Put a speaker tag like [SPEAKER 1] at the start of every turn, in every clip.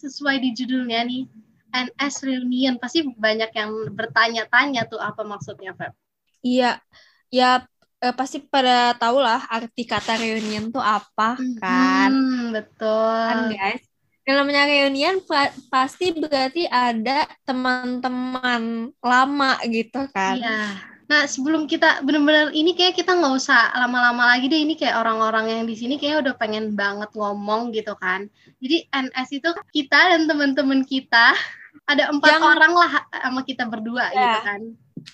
[SPEAKER 1] sesuai di judulnya nih NS reunion pasti banyak yang bertanya-tanya tuh apa maksudnya Feb.
[SPEAKER 2] Iya, ya eh, pasti pada tahu lah arti kata reunion tuh apa kan.
[SPEAKER 1] Hmm, betul.
[SPEAKER 2] Kan guys, Kalau namanya reunion pa- pasti berarti ada teman-teman lama gitu kan.
[SPEAKER 1] Iya. Nah sebelum kita benar-benar ini kayak kita nggak usah lama-lama lagi deh ini kayak orang-orang yang di sini kayak udah pengen banget ngomong gitu kan. Jadi NS itu kita dan teman-teman kita ada empat
[SPEAKER 2] Yang-
[SPEAKER 1] orang lah sama kita berdua
[SPEAKER 2] Iya.
[SPEAKER 1] gitu kan.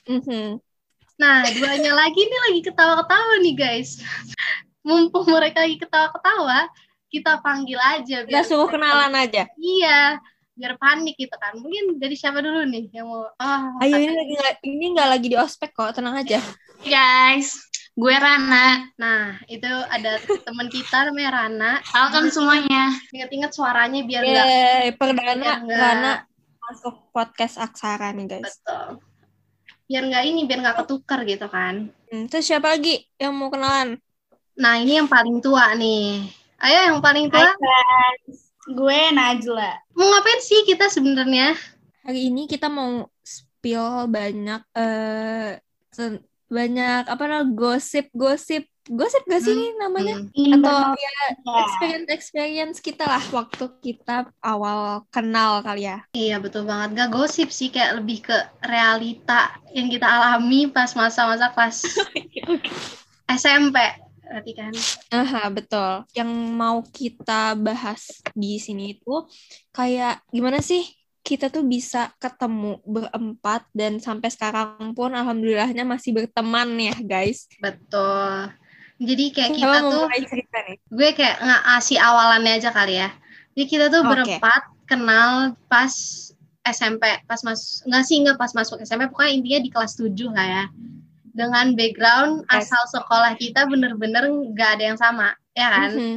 [SPEAKER 2] Mhm.
[SPEAKER 1] Nah, duanya lagi nih lagi ketawa-ketawa nih guys. Mumpung mereka lagi ketawa-ketawa, kita panggil aja.
[SPEAKER 2] Kita
[SPEAKER 1] biar-
[SPEAKER 2] suruh kenalan aja.
[SPEAKER 1] Iya, biar panik gitu kan. Mungkin dari siapa dulu nih yang mau? Oh,
[SPEAKER 2] Ayo ini lagi nggak- ini nggak lagi di ospek kok, tenang aja.
[SPEAKER 3] guys, gue Rana.
[SPEAKER 1] Nah, itu ada teman kita namanya Rana.
[SPEAKER 3] Welcome semuanya.
[SPEAKER 1] Ingat-ingat suaranya biar nggak
[SPEAKER 2] Yeay,
[SPEAKER 1] biar
[SPEAKER 2] Iya. perdana
[SPEAKER 1] nggak-
[SPEAKER 2] Rana masuk podcast Aksara nih guys.
[SPEAKER 1] betul. Biar nggak ini, biar nggak ketukar gitu kan.
[SPEAKER 2] Hmm, terus siapa lagi yang mau kenalan?
[SPEAKER 1] Nah, ini yang paling tua nih. Ayo yang paling tua,
[SPEAKER 3] Gue Najla.
[SPEAKER 1] mau ngapain sih kita sebenarnya?
[SPEAKER 2] Hari ini kita mau spill banyak eh sen- banyak apa namanya gosip-gosip gosip gak sih
[SPEAKER 1] Hmm,
[SPEAKER 2] ini namanya
[SPEAKER 1] Hmm.
[SPEAKER 3] Iya,
[SPEAKER 2] atau ya experience experience kita lah waktu kita awal kenal kali ya
[SPEAKER 1] Iya betul banget, gak gosip sih kayak lebih ke realita yang kita alami pas masa-masa kelas SMP berarti kan.
[SPEAKER 2] Aha, betul. Yang mau kita bahas di sini itu kayak gimana sih kita tuh bisa ketemu berempat dan sampai sekarang pun alhamdulillahnya masih berteman ya guys.
[SPEAKER 1] Betul. Jadi kayak kita
[SPEAKER 2] Siapa mau
[SPEAKER 1] tuh,
[SPEAKER 2] mulai cerita nih?
[SPEAKER 1] gue kayak ngasih awalannya aja kali ya. Jadi kita tuh
[SPEAKER 2] Oke.
[SPEAKER 1] berempat kenal pas SMP, pas mas nggak sih nggak pas masuk SMP, pokoknya intinya di kelas 7 lah ya. Dengan background
[SPEAKER 2] Yes.
[SPEAKER 1] asal sekolah kita bener-bener nggak ada yang sama, ya kan?
[SPEAKER 2] Mhm.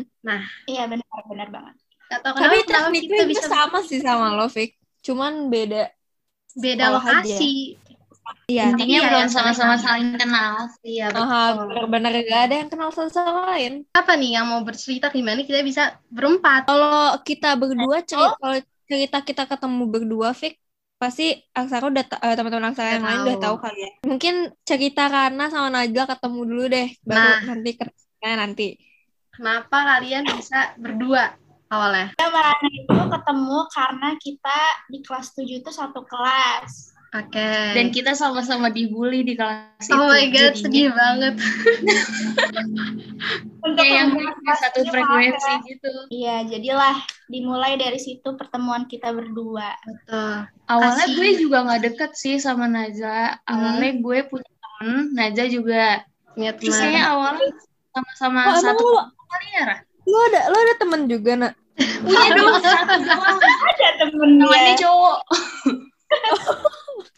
[SPEAKER 3] Iya benar benar banget.
[SPEAKER 1] Gak tau
[SPEAKER 2] Tapi
[SPEAKER 1] kenapa, kenapa
[SPEAKER 2] tekniknya
[SPEAKER 1] kita
[SPEAKER 2] itu
[SPEAKER 1] bisa
[SPEAKER 2] sama sih sama lo, Vic. Cuman beda.
[SPEAKER 1] beda
[SPEAKER 2] sekolah aja.
[SPEAKER 1] lokasi.
[SPEAKER 2] Iya.
[SPEAKER 3] Intinya
[SPEAKER 1] Iya,
[SPEAKER 3] belum
[SPEAKER 1] yang
[SPEAKER 3] sama-sama
[SPEAKER 1] sama-sama.
[SPEAKER 3] saling kenal.
[SPEAKER 1] Iya betul.
[SPEAKER 2] Aha, benar-benar gak ada yang kenal satu sama lain.
[SPEAKER 1] Apa nih yang mau bercerita gimana kita bisa berempat?
[SPEAKER 2] Kalau kita berdua
[SPEAKER 4] Eh, oh.
[SPEAKER 2] cerita, kalau cerita kita ketemu berdua, Vic, pasti Aksara udah ta- eh, teman-teman Aksara
[SPEAKER 1] Udah
[SPEAKER 2] yang lain
[SPEAKER 1] tahu.
[SPEAKER 2] udah tahu kali ya. Mungkin cerita Rana sama Najla ketemu dulu deh, baru
[SPEAKER 1] Nah.
[SPEAKER 2] nanti ketemunya nanti.
[SPEAKER 1] Kenapa kalian bisa berdua awalnya?
[SPEAKER 3] Karena itu ketemu karena kita di kelas 7 itu satu kelas.
[SPEAKER 1] Oke.
[SPEAKER 3] Iya.
[SPEAKER 4] dan kita sama-sama dibully di kelas itu.
[SPEAKER 1] Oh my god,
[SPEAKER 4] Jadinya
[SPEAKER 1] sedih banget.
[SPEAKER 3] Untuk
[SPEAKER 4] kayak yang
[SPEAKER 3] membuat
[SPEAKER 4] punya
[SPEAKER 3] kelas
[SPEAKER 4] satu
[SPEAKER 3] ini
[SPEAKER 4] frekuensi
[SPEAKER 3] maaf ya.
[SPEAKER 4] gitu.
[SPEAKER 3] Iya, jadilah dimulai dari situ pertemuan kita berdua.
[SPEAKER 1] Betul.
[SPEAKER 4] Awalnya
[SPEAKER 1] Asik.
[SPEAKER 4] gue juga nggak deket sih sama Naja. Awalnya
[SPEAKER 3] Hmm.
[SPEAKER 4] gue punya temen, Naja juga.
[SPEAKER 1] Punya
[SPEAKER 4] Terus
[SPEAKER 1] teman.
[SPEAKER 4] kayaknya awalnya sama-sama
[SPEAKER 2] Oh, emang
[SPEAKER 4] Nah, satu
[SPEAKER 2] lu,
[SPEAKER 4] kali ya, Ra?
[SPEAKER 2] lu ada lu ada temen juga, Nak?
[SPEAKER 4] Punya Iya, dong satu doang.
[SPEAKER 3] Ada temen
[SPEAKER 4] Temannya cowok.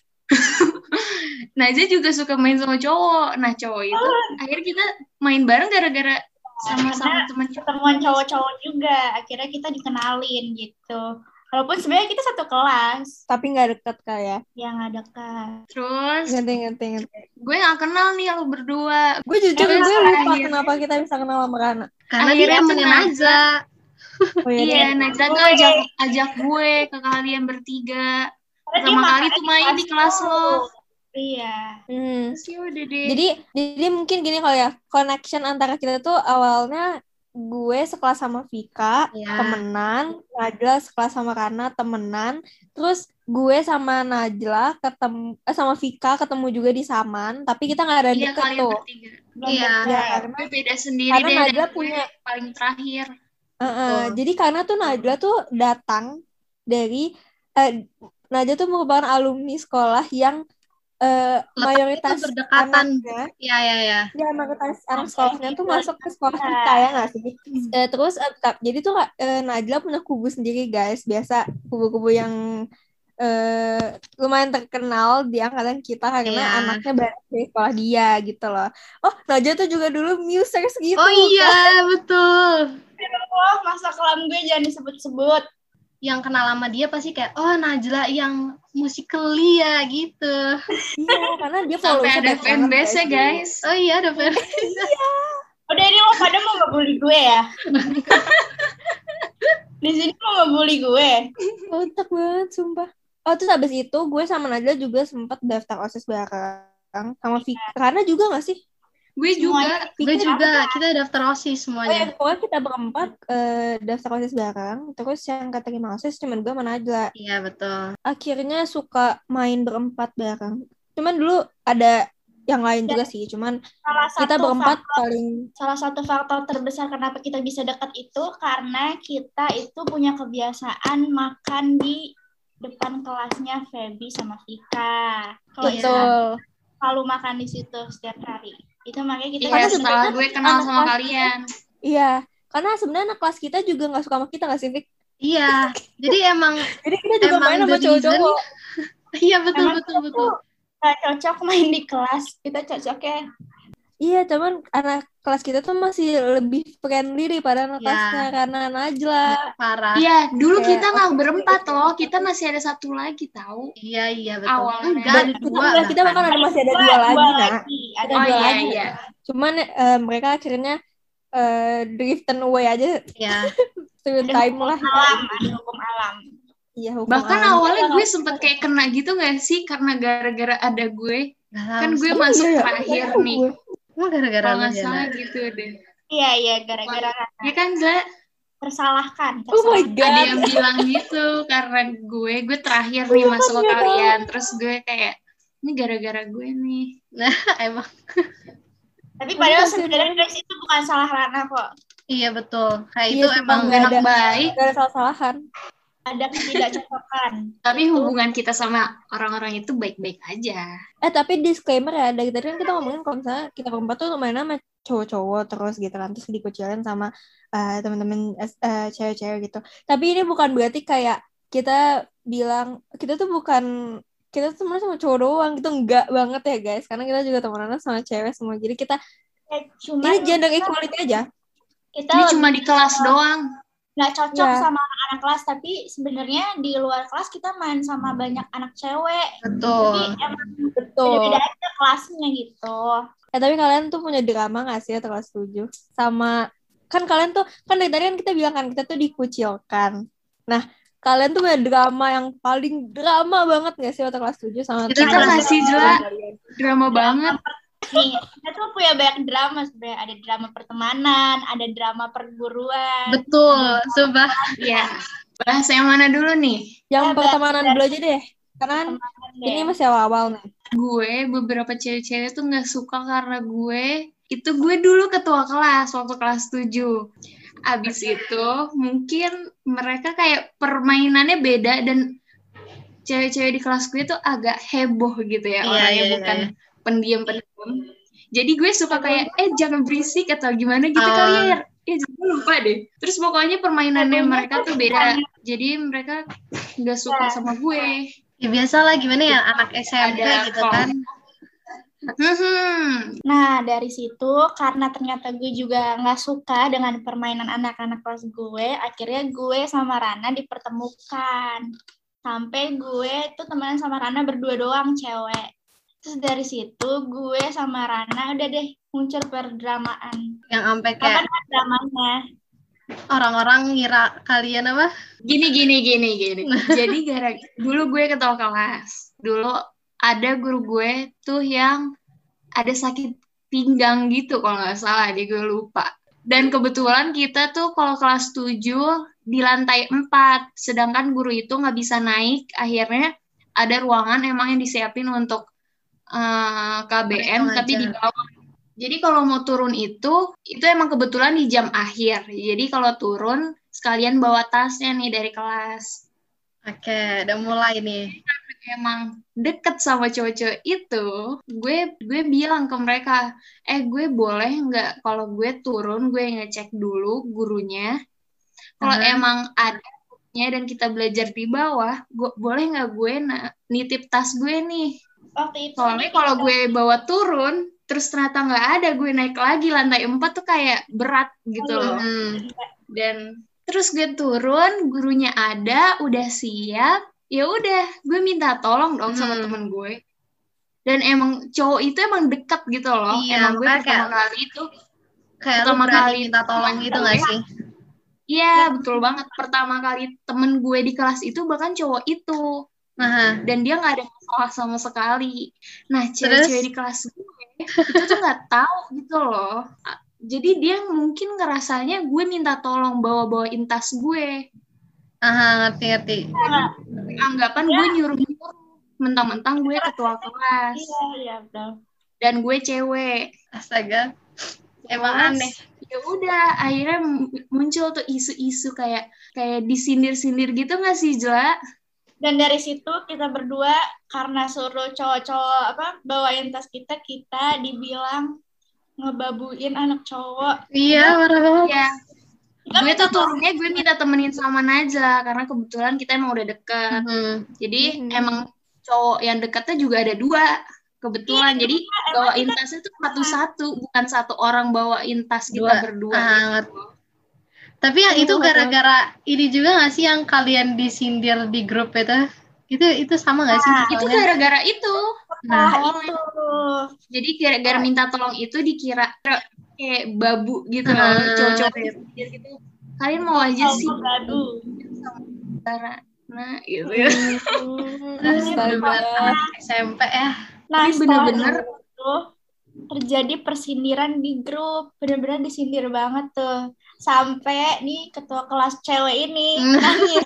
[SPEAKER 4] Naja Nah, juga suka main sama cowok. Nah cowok itu akhirnya kita main bareng gara-gara sama-sama teman cowok.
[SPEAKER 3] pertemuan cowok-cowok juga. Akhirnya kita dikenalin gitu. Walaupun sebenarnya kita satu kelas
[SPEAKER 2] Tapi nggak deket kali ya.
[SPEAKER 3] yang ada kan.
[SPEAKER 4] Terus
[SPEAKER 2] Ngerti, ngerti, ngerti.
[SPEAKER 4] gue gak kenal nih lu berdua.
[SPEAKER 2] Gue jujur,
[SPEAKER 4] Emang
[SPEAKER 2] gue lupa
[SPEAKER 4] terakhir.
[SPEAKER 2] kenapa kita bisa kenal sama Rana.
[SPEAKER 1] Karena dia
[SPEAKER 4] akhirnya
[SPEAKER 1] temennya
[SPEAKER 4] kenal.
[SPEAKER 1] Naza.
[SPEAKER 2] Oh,
[SPEAKER 4] Iya,
[SPEAKER 2] deh.
[SPEAKER 4] Najla tuh ajak, ajak gue ke kalian bertiga. Pertama kali tuh main di kelas lo.
[SPEAKER 3] Iya.
[SPEAKER 2] Hmm.
[SPEAKER 4] Terus ya udah deh.
[SPEAKER 2] Jadi jadi mungkin gini kalau ya connection antara kita tuh awalnya gue sekelas sama Vika
[SPEAKER 1] Iya.
[SPEAKER 2] temenan, Najla sekelas sama Rana temenan, terus gue sama Najla ketemu eh, sama Vika ketemu juga di Saman, tapi kita nggak ada
[SPEAKER 4] iya,
[SPEAKER 2] deket
[SPEAKER 4] kalian
[SPEAKER 2] tuh.
[SPEAKER 4] bertiga.
[SPEAKER 3] Belum
[SPEAKER 1] Iya.
[SPEAKER 3] deket.
[SPEAKER 2] Ya, karena
[SPEAKER 4] Gue beda sendiri
[SPEAKER 2] Karena
[SPEAKER 4] deh.
[SPEAKER 2] Najla
[SPEAKER 4] dan gue
[SPEAKER 2] punya-
[SPEAKER 4] paling terakhir.
[SPEAKER 2] Eh, eh, jadi karena tuh Najla tuh datang dari eh, Najla tuh merupakan alumni sekolah yang eh,
[SPEAKER 1] Letaknya
[SPEAKER 2] mayoritas
[SPEAKER 1] tuh berdekatan.
[SPEAKER 2] anaknya
[SPEAKER 1] Iya, iya, iya.
[SPEAKER 2] Ya, mayoritas anak
[SPEAKER 3] Sampai
[SPEAKER 2] sekolahnya tuh
[SPEAKER 3] gitu.
[SPEAKER 2] masuk ke sekolah
[SPEAKER 3] Iya.
[SPEAKER 2] kita ya nggak sih? Eh, terus eh, tap- jadi tuh eh, Najla punya kubu sendiri guys. Biasa kubu-kubu yang eh, lumayan terkenal di angkatan kita karena
[SPEAKER 1] Iya.
[SPEAKER 2] anaknya banyak dari sekolah dia gitu loh. Oh, Najla tuh juga dulu musers gitu.
[SPEAKER 1] Oh iya, betul.
[SPEAKER 3] Oh, masa kelam gue jangan disebut-sebut.
[SPEAKER 1] Yang kenal sama dia pasti kayak, oh Najla yang musikali ya gitu.
[SPEAKER 2] Iya, karena dia
[SPEAKER 4] Sampai
[SPEAKER 2] followersnya
[SPEAKER 4] ada
[SPEAKER 2] banyak banget,
[SPEAKER 4] fanbase-nya, guys.
[SPEAKER 1] Oh iya, ada fan.
[SPEAKER 3] Udah ini lo pada mau ngebully gue ya? Di sini lo nggak bully gue.
[SPEAKER 2] Otak banget, sumpah. Oh, terus abis itu gue sama Nadila juga sempat daftar OSIS bareng. Sama Vika. Karena juga gak sih?
[SPEAKER 4] Gue
[SPEAKER 3] Semuanya.
[SPEAKER 4] juga.
[SPEAKER 1] Gue juga, kita daftar OSIS
[SPEAKER 2] Oh ya,
[SPEAKER 1] semuanya.
[SPEAKER 2] pokoknya kita berempat eh, daftar OSIS bareng. Terus yang keterima OSIS cuman gue sama Nadila.
[SPEAKER 1] Iya, betul.
[SPEAKER 2] Akhirnya suka main berempat bareng. Cuman dulu ada yang lain juga sih. Cuman
[SPEAKER 3] Salah satu
[SPEAKER 2] kita berempat
[SPEAKER 3] faktor-
[SPEAKER 2] paling...
[SPEAKER 3] salah satu faktor terbesar kenapa kita bisa dekat itu karena kita itu punya kebiasaan makan di depan kelasnya Feby sama Vika. Kalau
[SPEAKER 1] Iya.
[SPEAKER 3] kita
[SPEAKER 2] Betul.
[SPEAKER 3] selalu makan di situ setiap hari. Itu makanya kita
[SPEAKER 4] Iya,
[SPEAKER 2] Karena
[SPEAKER 4] setelah
[SPEAKER 2] sebenarnya
[SPEAKER 4] gue kenal sama
[SPEAKER 2] anak-anak-
[SPEAKER 4] kalian.
[SPEAKER 2] Iya, karena sebenarnya anak kelas kita juga nggak suka sama kita nggak sih, Fik?
[SPEAKER 1] Iya, jadi emang
[SPEAKER 2] Jadi kita juga
[SPEAKER 1] Emang
[SPEAKER 2] main sama
[SPEAKER 1] the
[SPEAKER 2] cowok-cowok.
[SPEAKER 1] iya betul
[SPEAKER 3] Emang
[SPEAKER 1] betul betul.
[SPEAKER 3] tuh nggak cocok main di kelas. Kita cocoknya
[SPEAKER 2] Iya, cuman anak kelas kita tuh masih lebih friendly daripada
[SPEAKER 1] Iya.
[SPEAKER 2] anak kelasnya karena Najla.
[SPEAKER 1] Parah.
[SPEAKER 4] Iya, dulu
[SPEAKER 2] Kayak,
[SPEAKER 4] kita nggak
[SPEAKER 2] oke,
[SPEAKER 4] berempat
[SPEAKER 2] oke.
[SPEAKER 4] loh. Kita masih ada satu lagi tahu.
[SPEAKER 1] Iya, iya betul.
[SPEAKER 4] Awalnya.
[SPEAKER 1] Enggak, ada
[SPEAKER 2] kan Kita,
[SPEAKER 1] dua.
[SPEAKER 2] enggak, kita bahkan ada, masih ada dua, lagi, nak.
[SPEAKER 3] lagi. Ada
[SPEAKER 4] Oh
[SPEAKER 2] dua
[SPEAKER 4] iya
[SPEAKER 2] lagi.
[SPEAKER 4] iya.
[SPEAKER 2] Cuman eh, mereka akhirnya eh, driften away aja
[SPEAKER 1] Iya.
[SPEAKER 2] through
[SPEAKER 3] Ada
[SPEAKER 2] time
[SPEAKER 3] hukum
[SPEAKER 2] lah.
[SPEAKER 3] alam, ada hukum alam.
[SPEAKER 2] Iya, hukum
[SPEAKER 4] Bahkan
[SPEAKER 2] alam.
[SPEAKER 4] awalnya gue sempet kayak kena gitu gak sih? Karena gara-gara ada gue.
[SPEAKER 1] Nggak
[SPEAKER 4] Kan
[SPEAKER 1] tahu.
[SPEAKER 4] gue
[SPEAKER 2] Emang
[SPEAKER 4] masuk
[SPEAKER 2] iya ya?
[SPEAKER 4] terakhir
[SPEAKER 2] Tahu
[SPEAKER 4] nih.
[SPEAKER 2] gue.
[SPEAKER 1] Emang gara-gara
[SPEAKER 4] Kalau
[SPEAKER 1] lu
[SPEAKER 4] nggak
[SPEAKER 1] ya,
[SPEAKER 4] salah
[SPEAKER 1] Nak?
[SPEAKER 4] gitu deh.
[SPEAKER 3] Iya, iya, gara-gara
[SPEAKER 4] Ya kan, Za?
[SPEAKER 3] tersalahkan.
[SPEAKER 2] Oh my
[SPEAKER 3] tersalahkan.
[SPEAKER 4] Ada
[SPEAKER 2] god.
[SPEAKER 4] yang bilang gitu. Karena gue, gue terakhir nih masuk ke kalian. Terus gue kayak, ini gara-gara gue nih.
[SPEAKER 1] Emang
[SPEAKER 3] Tapi
[SPEAKER 2] Ini
[SPEAKER 3] padahal
[SPEAKER 2] pasti
[SPEAKER 3] sebenarnya guys itu bukan salah Rana kok.
[SPEAKER 1] iya betul. Kayak
[SPEAKER 2] Iya,
[SPEAKER 1] itu
[SPEAKER 2] sumpah
[SPEAKER 1] emang
[SPEAKER 2] nggak
[SPEAKER 4] Anak
[SPEAKER 2] ada.
[SPEAKER 4] baik.
[SPEAKER 2] Gak ada salah-salahan.
[SPEAKER 3] Ada ketidakcocokan.
[SPEAKER 4] Tapi hubungan kita sama orang-orang itu baik-baik aja.
[SPEAKER 2] Eh tapi disclaimer ya dari tadi kan kita ngomongin kalau misalnya kita berempat tuh lumayan sama cowok-cowok terus gitu kan terus dikucilin sama eh, temen-temen eh, cewek-cewek gitu. Tapi ini bukan berarti kayak kita bilang kita tuh bukan kita tuh sebenarnya sama cowok doang gitu enggak banget ya guys karena kita juga temenan sama cewek semua jadi kita
[SPEAKER 3] Ya, Cuma
[SPEAKER 2] ini Iya, gender equality aja
[SPEAKER 3] kita
[SPEAKER 4] Ini
[SPEAKER 3] lebih
[SPEAKER 4] cuma di kelas doang.
[SPEAKER 3] nggak cocok
[SPEAKER 2] Iya.
[SPEAKER 3] sama anak-anak kelas, tapi sebenarnya di luar kelas kita main sama banyak anak cewek.
[SPEAKER 1] betul.
[SPEAKER 3] Jadi emang
[SPEAKER 2] betul
[SPEAKER 3] beda-beda aja kelasnya gitu.
[SPEAKER 2] Eh, tapi kalian tuh punya drama gak sih atau kelas tujuh? Sama kan kalian tuh kan dari tadi kan kita bilang kan kita tuh dikucilkan. Nah, kalian tuh punya drama yang paling drama banget gak sih waktu kelas tujuh sama
[SPEAKER 1] Kita kan
[SPEAKER 2] teman-teman
[SPEAKER 1] kelas
[SPEAKER 4] tujuh
[SPEAKER 2] kalian?
[SPEAKER 4] lah. Drama banget.
[SPEAKER 3] Nah, Nih, kita tuh punya banyak drama sebenarnya. Ada drama pertemanan, ada drama perguruan.
[SPEAKER 1] Betul, sumpah.
[SPEAKER 4] Ya. Bahas yang mana dulu nih?
[SPEAKER 2] Yang
[SPEAKER 3] Ada.
[SPEAKER 2] pertemanan dulu aja deh. Karena kan
[SPEAKER 3] Pertemanan deh.
[SPEAKER 1] ya.
[SPEAKER 2] ini masih awal-awal nih.
[SPEAKER 4] gue beberapa cewek-cewek tuh nggak suka karena gue itu gue dulu ketua kelas waktu kelas 7 abis itu mungkin mereka kayak permainannya beda dan cewek-cewek di kelas gue tuh agak heboh gitu ya
[SPEAKER 1] Iya,
[SPEAKER 4] orangnya
[SPEAKER 1] iya,
[SPEAKER 4] bukan
[SPEAKER 1] iya.
[SPEAKER 4] pendiam-pendiam jadi gue suka kayak eh jangan berisik atau gimana gitu
[SPEAKER 1] Ah.
[SPEAKER 4] kali ya ya gue lupa deh terus pokoknya permainannya
[SPEAKER 3] Pokoknya
[SPEAKER 4] mereka tuh beda jadi mereka nggak
[SPEAKER 1] Iya.
[SPEAKER 4] suka sama gue
[SPEAKER 1] Ya biasalah gimana ya anak SMP
[SPEAKER 4] Ada
[SPEAKER 1] gitu
[SPEAKER 4] kom-
[SPEAKER 1] kan.
[SPEAKER 4] Mhm.
[SPEAKER 3] Nah, dari situ karena ternyata gue juga nggak suka dengan permainan anak-anak kelas gue, akhirnya gue sama Rana dipertemukan. Sampai gue tuh temenan sama Rana berdua doang cewek. Terus dari situ gue sama Rana udah deh muncul perdramaan.
[SPEAKER 1] Yang sampai
[SPEAKER 4] Ya.
[SPEAKER 3] Apa
[SPEAKER 1] kayak
[SPEAKER 3] nama dramanya?
[SPEAKER 1] orang-orang ngira kalian apa?
[SPEAKER 4] Gini gini gini gini. Jadi gara dulu gue ketua kelas. Dulu ada guru gue tuh yang ada sakit pinggang gitu kalau nggak salah, dia gue lupa. Dan kebetulan kita tuh kalau kelas 7 di lantai 4, sedangkan guru itu nggak bisa naik, akhirnya ada ruangan emang yang disiapin untuk eh, KBM
[SPEAKER 1] Mereka
[SPEAKER 4] tapi di
[SPEAKER 1] ngajar.
[SPEAKER 4] bawah. Jadi kalau mau turun itu, itu emang kebetulan di jam akhir. Jadi kalau turun sekalian bawa tasnya nih dari kelas.
[SPEAKER 1] Oke, udah mulai nih.
[SPEAKER 4] emang deket sama cowok-cowok itu, gue gue bilang ke mereka, eh gue boleh nggak kalau gue turun gue ngecek dulu gurunya, kalau
[SPEAKER 1] Aha.
[SPEAKER 4] emang ada gurunya dan kita belajar di bawah, gue, boleh nggak gue na- nitip tas gue nih?
[SPEAKER 3] Waktu itu
[SPEAKER 4] Soalnya kalau gue bawa turun, terus ternyata nggak ada gue naik lagi lantai empat tuh kayak berat gitu loh
[SPEAKER 1] Hmm,
[SPEAKER 4] dan terus gue turun gurunya ada udah siap ya udah gue minta tolong dong sama
[SPEAKER 1] Hmm.
[SPEAKER 4] temen gue dan emang cowok itu emang deket gitu loh
[SPEAKER 1] Iya,
[SPEAKER 4] emang gue
[SPEAKER 1] makanya
[SPEAKER 4] pertama kali itu
[SPEAKER 1] kayak lu
[SPEAKER 4] Pertama
[SPEAKER 1] berani
[SPEAKER 4] kali
[SPEAKER 1] minta tolong gitu gak sih?
[SPEAKER 4] Iya, betul banget. Pertama kali temen gue di kelas itu bahkan cowok itu.
[SPEAKER 1] Nah,
[SPEAKER 4] Dan dia nggak ada masalah sama sekali. Nah, cewek-cewek di kelas gue itu tuh nggak tahu gitu loh. A- Jadi dia mungkin ngerasanya gue minta tolong bawa-bawain tas gue.
[SPEAKER 1] aha, ngerti ngerti.
[SPEAKER 4] Anggapan
[SPEAKER 1] Ya.
[SPEAKER 4] gue nyuruh-nyuruh. Mentang-mentang gue ketua kelas.
[SPEAKER 3] Iya, iya, betul.
[SPEAKER 4] Dan gue cewek.
[SPEAKER 1] Astaga. Emang
[SPEAKER 4] Terus,
[SPEAKER 1] aneh.
[SPEAKER 4] ya udah akhirnya m- muncul tuh isu-isu kayak kayak disindir-sindir gitu nggak sih Jela?
[SPEAKER 3] Dan dari situ kita berdua karena suruh cowok-cowok apa bawain tas kita, kita dibilang ngebabuin anak cowok.
[SPEAKER 1] Iya, parah banget.
[SPEAKER 4] Iya. Gue
[SPEAKER 3] Kita
[SPEAKER 4] tuh
[SPEAKER 3] minta tolong.
[SPEAKER 4] turunnya gue minta temenin sama Najla karena kebetulan kita emang udah deket.
[SPEAKER 1] Mhm.
[SPEAKER 4] Jadi
[SPEAKER 2] Hmm.
[SPEAKER 4] emang cowok yang deketnya juga ada dua kebetulan.
[SPEAKER 1] Iya,
[SPEAKER 4] Jadi bawain tasnya tuh satu-satu bukan satu orang bawain tas kita
[SPEAKER 1] Dua.
[SPEAKER 4] berdua.
[SPEAKER 1] Ah, ngerti. Tapi yang itu
[SPEAKER 4] Iya,
[SPEAKER 1] gara-gara ini juga nggak sih yang kalian disindir di grup itu? Itu itu sama nggak sih?
[SPEAKER 3] Nah,
[SPEAKER 4] Itu
[SPEAKER 1] soalnya?
[SPEAKER 4] gara-gara itu.
[SPEAKER 1] Nah,
[SPEAKER 3] Nah, itu.
[SPEAKER 4] Jadi
[SPEAKER 1] Ah.
[SPEAKER 4] gara-gara minta tolong itu dikira kayak babu gitu loh,
[SPEAKER 1] Ah, Oh.
[SPEAKER 4] cowok-cowok
[SPEAKER 1] ngerti.
[SPEAKER 4] gitu. Kalian mau aja Iya sih
[SPEAKER 3] Cowok babu.
[SPEAKER 4] Sarah. Nah, gitu.
[SPEAKER 2] Astaga.
[SPEAKER 1] SMP ya.
[SPEAKER 3] Nah,
[SPEAKER 4] Ini
[SPEAKER 3] setelah
[SPEAKER 4] bener-bener.
[SPEAKER 3] itu terjadi persindiran di grup. Bener-bener disindir banget tuh. Sampai nih ketua kelas cewek ini
[SPEAKER 4] Hmm.
[SPEAKER 3] nangis.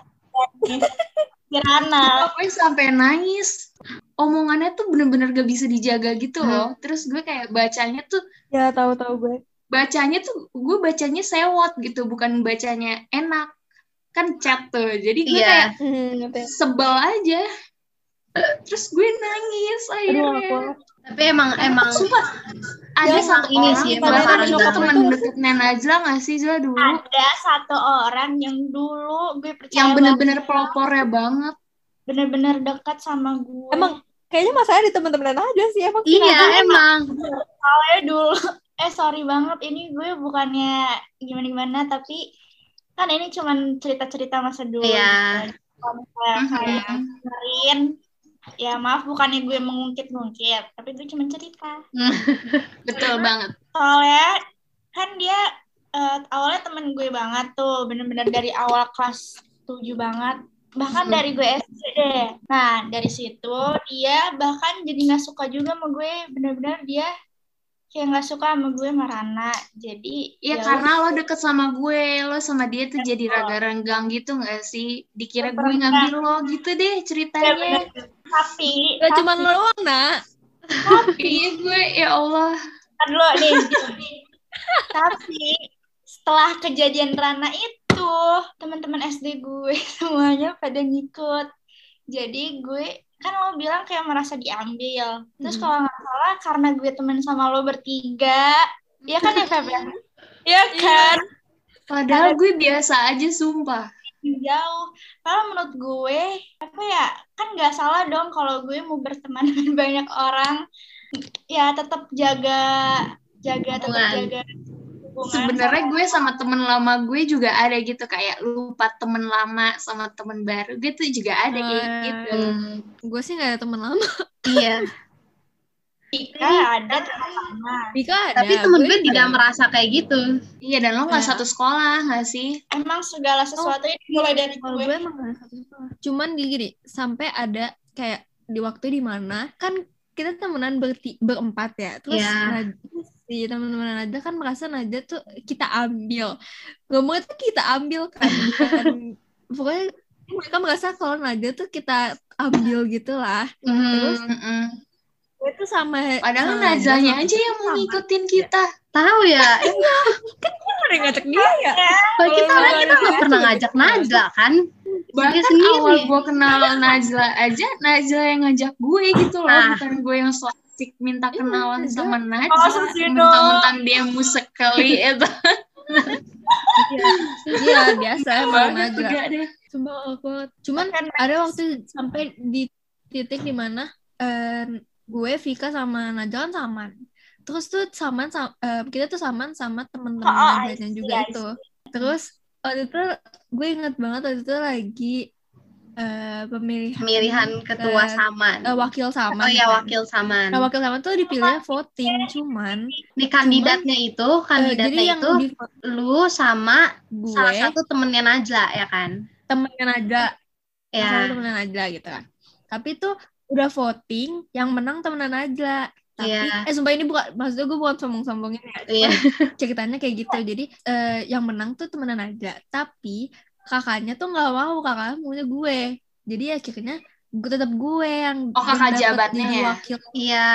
[SPEAKER 3] Kirana.
[SPEAKER 4] Pokoknya sampai nangis. Omongannya tuh bener-bener gak bisa dijaga gitu
[SPEAKER 1] Hmm.
[SPEAKER 4] loh. Terus gue kayak bacanya tuh,
[SPEAKER 2] Ya tahu-tahu gue.
[SPEAKER 4] bacanya tuh, gue bacanya sewot gitu, bukan bacanya enak. Kan chat tuh, jadi gue
[SPEAKER 1] Iya.
[SPEAKER 4] kayak
[SPEAKER 2] Hmm,
[SPEAKER 4] sebel aja. Terus gue nangis akhirnya.
[SPEAKER 1] Tapi emang emang
[SPEAKER 4] Sumpah, ada
[SPEAKER 1] Jangan
[SPEAKER 4] satu
[SPEAKER 1] ini
[SPEAKER 4] ini
[SPEAKER 1] sih,
[SPEAKER 4] sih,
[SPEAKER 1] emang parah
[SPEAKER 4] bahkan itu
[SPEAKER 1] banget.
[SPEAKER 4] teman deketnya Najla gak sih Zula dulu?
[SPEAKER 3] Ada satu orang yang dulu gue percaya
[SPEAKER 4] yang bener-bener
[SPEAKER 3] banget.
[SPEAKER 4] pelopornya banget.
[SPEAKER 3] bener-bener dekat sama gue.
[SPEAKER 2] Emang kayaknya masalahnya di teman-teman aja sih emang.
[SPEAKER 1] iya emang.
[SPEAKER 3] Soalnya dulu. Eh sorry banget ini gue bukannya gimana-gimana tapi kan ini cuman cerita-cerita masa dulu.
[SPEAKER 1] Iya.
[SPEAKER 3] gitu. Kalau misalnya kayak
[SPEAKER 4] Mm-hmm.
[SPEAKER 3] dengerin, ya maaf bukannya gue mengungkit-ngungkit tapi gue cuma cerita
[SPEAKER 4] Betul banget.
[SPEAKER 3] soalnya kan dia eh, awalnya temen gue banget tuh bener-bener dari awal kelas 7 banget bahkan
[SPEAKER 1] Hmm.
[SPEAKER 3] dari gue SD deh nah dari situ dia bahkan jadi nggak suka juga sama gue bener-bener dia kayak nggak suka sama gue marana jadi
[SPEAKER 4] Iya
[SPEAKER 3] ya
[SPEAKER 4] karena lo deket sama gue, lo sama dia tuh jadi raga renggang gitu gak sih? Dikira gue
[SPEAKER 3] Renggang.
[SPEAKER 4] ngambil lo gitu deh
[SPEAKER 3] udah,
[SPEAKER 4] ceritanya.
[SPEAKER 3] bener. tapi
[SPEAKER 2] Gak
[SPEAKER 3] tapi-
[SPEAKER 2] cuma lo doang, nak.
[SPEAKER 4] Iya gue, ya Allah.
[SPEAKER 3] Ntar Kan dulu nih. Tapi setelah kejadian Rana itu, teman-teman SD gue semuanya pada ngikut. Jadi gue kan lo bilang kayak merasa diambil. Terus
[SPEAKER 2] Hmm.
[SPEAKER 3] kalau nggak salah karena gue temen sama lo bertiga, ya kan ya Feb ya? Iya kan?
[SPEAKER 4] Padahal gue biasa aja sumpah.
[SPEAKER 3] Jauh. Kalau menurut gue, apa ya, kan nggak salah dong kalau gue mau berteman dengan banyak orang. Ya tetap jaga, jaga, tetap
[SPEAKER 1] Hubungan.
[SPEAKER 3] jaga hubungan.
[SPEAKER 4] Sebenarnya gue sama temen lama gue juga ada gitu kayak lupa temen lama sama temen baru. Gue tuh juga ada kayak
[SPEAKER 2] Hmm.
[SPEAKER 4] gitu.
[SPEAKER 1] Hmm,
[SPEAKER 2] Gue sih gak ada teman lama.
[SPEAKER 1] iya.
[SPEAKER 3] Ika
[SPEAKER 2] Ya,
[SPEAKER 3] ada sama
[SPEAKER 2] Dika ada.
[SPEAKER 1] Tapi temen gue
[SPEAKER 2] Ya, juga
[SPEAKER 1] tidak merasa kayak gitu.
[SPEAKER 4] Iya dan lo
[SPEAKER 2] Ya.
[SPEAKER 4] gak satu sekolah gak sih?
[SPEAKER 3] Emang segala sesuatu ini
[SPEAKER 2] Oh,
[SPEAKER 3] mulai dari
[SPEAKER 2] Kalau
[SPEAKER 3] gue.
[SPEAKER 2] gue emang gitu gak ada satu sekolah. Cuman gini, gini, sampai ada kayak di waktu di mana kan kita temenan berti, berempat ya. Terus
[SPEAKER 1] Iya.
[SPEAKER 2] Najwa si teman-teman Najwa kan merasa Najwa tuh kita ambil. Ngomongnya tuh kita ambil kan. Dan pokoknya mereka merasa kalau Najwa tuh kita ambil gitu lah.
[SPEAKER 1] Hmm,
[SPEAKER 4] Mm-mm.
[SPEAKER 2] Gue tuh sama
[SPEAKER 4] Padahal
[SPEAKER 2] sama Najwa Iya,
[SPEAKER 4] Najlanya
[SPEAKER 2] sama-
[SPEAKER 4] aja yang mau ngikutin kita.
[SPEAKER 1] tahu ya. Eh,
[SPEAKER 2] Ada yang ngajak dia ya.
[SPEAKER 1] kalau kita orang kita nggak pernah ngajak Najla kan? Dia
[SPEAKER 4] Bahkan
[SPEAKER 1] sendiri.
[SPEAKER 4] awal gue kenal Najla aja, Najla yang ngajak gue gitu loh.
[SPEAKER 1] Ah.
[SPEAKER 4] Bukan gue yang so asik minta
[SPEAKER 2] Iya,
[SPEAKER 4] kenalan
[SPEAKER 2] Najla.
[SPEAKER 4] sama
[SPEAKER 3] Oh,
[SPEAKER 4] Najla.
[SPEAKER 3] Susino.
[SPEAKER 4] Mentang-mentang dia musik kali itu.
[SPEAKER 2] Iya, biasa emang
[SPEAKER 4] Banget
[SPEAKER 2] Najwa.
[SPEAKER 4] juga deh.
[SPEAKER 2] Cuma awkward. Cuman
[SPEAKER 3] Kan
[SPEAKER 2] ada waktu sampai di titik dimana eh, gue Vika sama Najwa kan saman terus tuh saman sa- eh, kita tuh saman sama temen-temen
[SPEAKER 3] Oh, oh, I
[SPEAKER 2] Najwa
[SPEAKER 3] see,
[SPEAKER 2] juga
[SPEAKER 3] I
[SPEAKER 2] itu terus waktu itu gue inget banget waktu itu lagi eh, pemilihan
[SPEAKER 1] pemilihan ketua
[SPEAKER 2] eh,
[SPEAKER 1] saman.
[SPEAKER 2] eh, wakil sama
[SPEAKER 1] Oh ya
[SPEAKER 2] kan?
[SPEAKER 1] wakil saman.
[SPEAKER 2] Nah, wakil sama tuh dipilihnya voting cuman eh,
[SPEAKER 1] Di kandidatnya itu,
[SPEAKER 2] jadi
[SPEAKER 1] kandidatnya
[SPEAKER 2] yang
[SPEAKER 1] itu
[SPEAKER 2] di
[SPEAKER 1] lu sama
[SPEAKER 2] gue
[SPEAKER 1] salah satu temennya Najla ya kan?
[SPEAKER 2] temennya Najla Salah satu
[SPEAKER 1] Ya.
[SPEAKER 2] temenan Najla gitu kan. Tapi itu udah voting, yang menang temenan Najla. Tapi,
[SPEAKER 1] Iya.
[SPEAKER 4] Ya.
[SPEAKER 2] eh sumpah ini bukan, maksudnya gue bukan sombong-sombongin ya.
[SPEAKER 1] Iya.
[SPEAKER 2] Ceritanya kayak gitu, jadi eh, yang menang tuh temenan Najla. Tapi kakaknya tuh gak mau, kakaknya maunya gue. Jadi akhirnya gue tetap gue yang
[SPEAKER 4] Oh, kakak
[SPEAKER 2] yang dapet
[SPEAKER 4] jabatnya
[SPEAKER 2] jadi
[SPEAKER 4] ya?
[SPEAKER 2] wakil
[SPEAKER 1] Iya.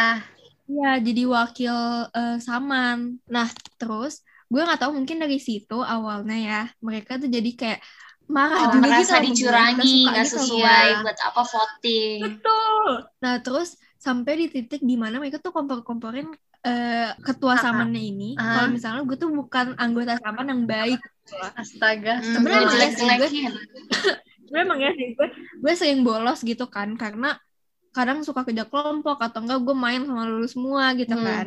[SPEAKER 2] Iya, jadi wakil eh, Saman. Nah, terus gue nggak tahu mungkin dari situ awalnya ya mereka tuh jadi kayak marah
[SPEAKER 4] Oh,
[SPEAKER 2] juga gitu
[SPEAKER 4] merasa
[SPEAKER 2] sama gue,
[SPEAKER 4] dicurangi,
[SPEAKER 2] suka
[SPEAKER 4] nggak
[SPEAKER 2] gitu sama
[SPEAKER 4] sesuai
[SPEAKER 1] iya.
[SPEAKER 4] buat apa voting.
[SPEAKER 2] Betul. Nah, terus sampai di titik di mana mereka tuh kompor-komporin eh, ketua
[SPEAKER 1] Kakak.
[SPEAKER 2] samannya ini.
[SPEAKER 1] Ah.
[SPEAKER 2] Kalau misalnya gue tuh bukan anggota saman yang baik.
[SPEAKER 1] Astaga.
[SPEAKER 4] Hmm,
[SPEAKER 2] Sebenarnya emang
[SPEAKER 4] lu
[SPEAKER 2] ya sih, gue-
[SPEAKER 4] jelek-jelekin.
[SPEAKER 2] Gue emang ya sih, gue, gue sering bolos gitu kan. Karena kadang suka kerja kelompok atau enggak gue main sama lulus semua gitu
[SPEAKER 1] Hmm.
[SPEAKER 2] kan.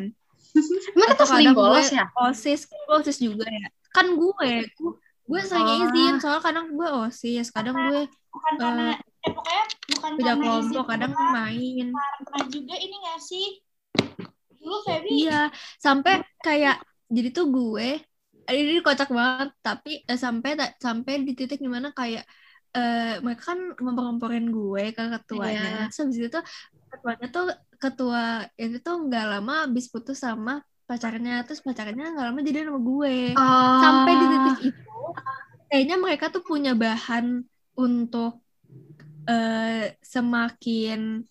[SPEAKER 1] Emang kita
[SPEAKER 2] Atau
[SPEAKER 1] sering
[SPEAKER 2] kadang gue-
[SPEAKER 1] bolos ya?
[SPEAKER 2] OSIS, gue OSIS juga ya. Kan gue, gue, gue sering
[SPEAKER 1] Ah.
[SPEAKER 2] izin. Soalnya kadang gue OSIS, kadang gue
[SPEAKER 3] bukan
[SPEAKER 2] Eh,
[SPEAKER 3] karena eh, pokoknya bukan
[SPEAKER 2] kerja
[SPEAKER 3] karena
[SPEAKER 2] kelompok,
[SPEAKER 3] izin
[SPEAKER 2] kadang
[SPEAKER 3] doang,
[SPEAKER 2] main.
[SPEAKER 3] karena juga ini nggak sih dulu Feby
[SPEAKER 2] Iya, sampai kayak jadi tuh gue eh, ini kocak banget, tapi eh, sampai ta- sampai di titik dimana kayak eh mereka kan ngompor-ngomporin gue ke ketuanya. Terus habis itu tuh ketuanya tuh ketua itu tuh nggak lama habis putus sama pacarnya, terus pacarnya nggak lama jadi sama gue.
[SPEAKER 1] Oh.
[SPEAKER 2] Sampai di titik itu kayaknya mereka tuh punya bahan untuk eh semakin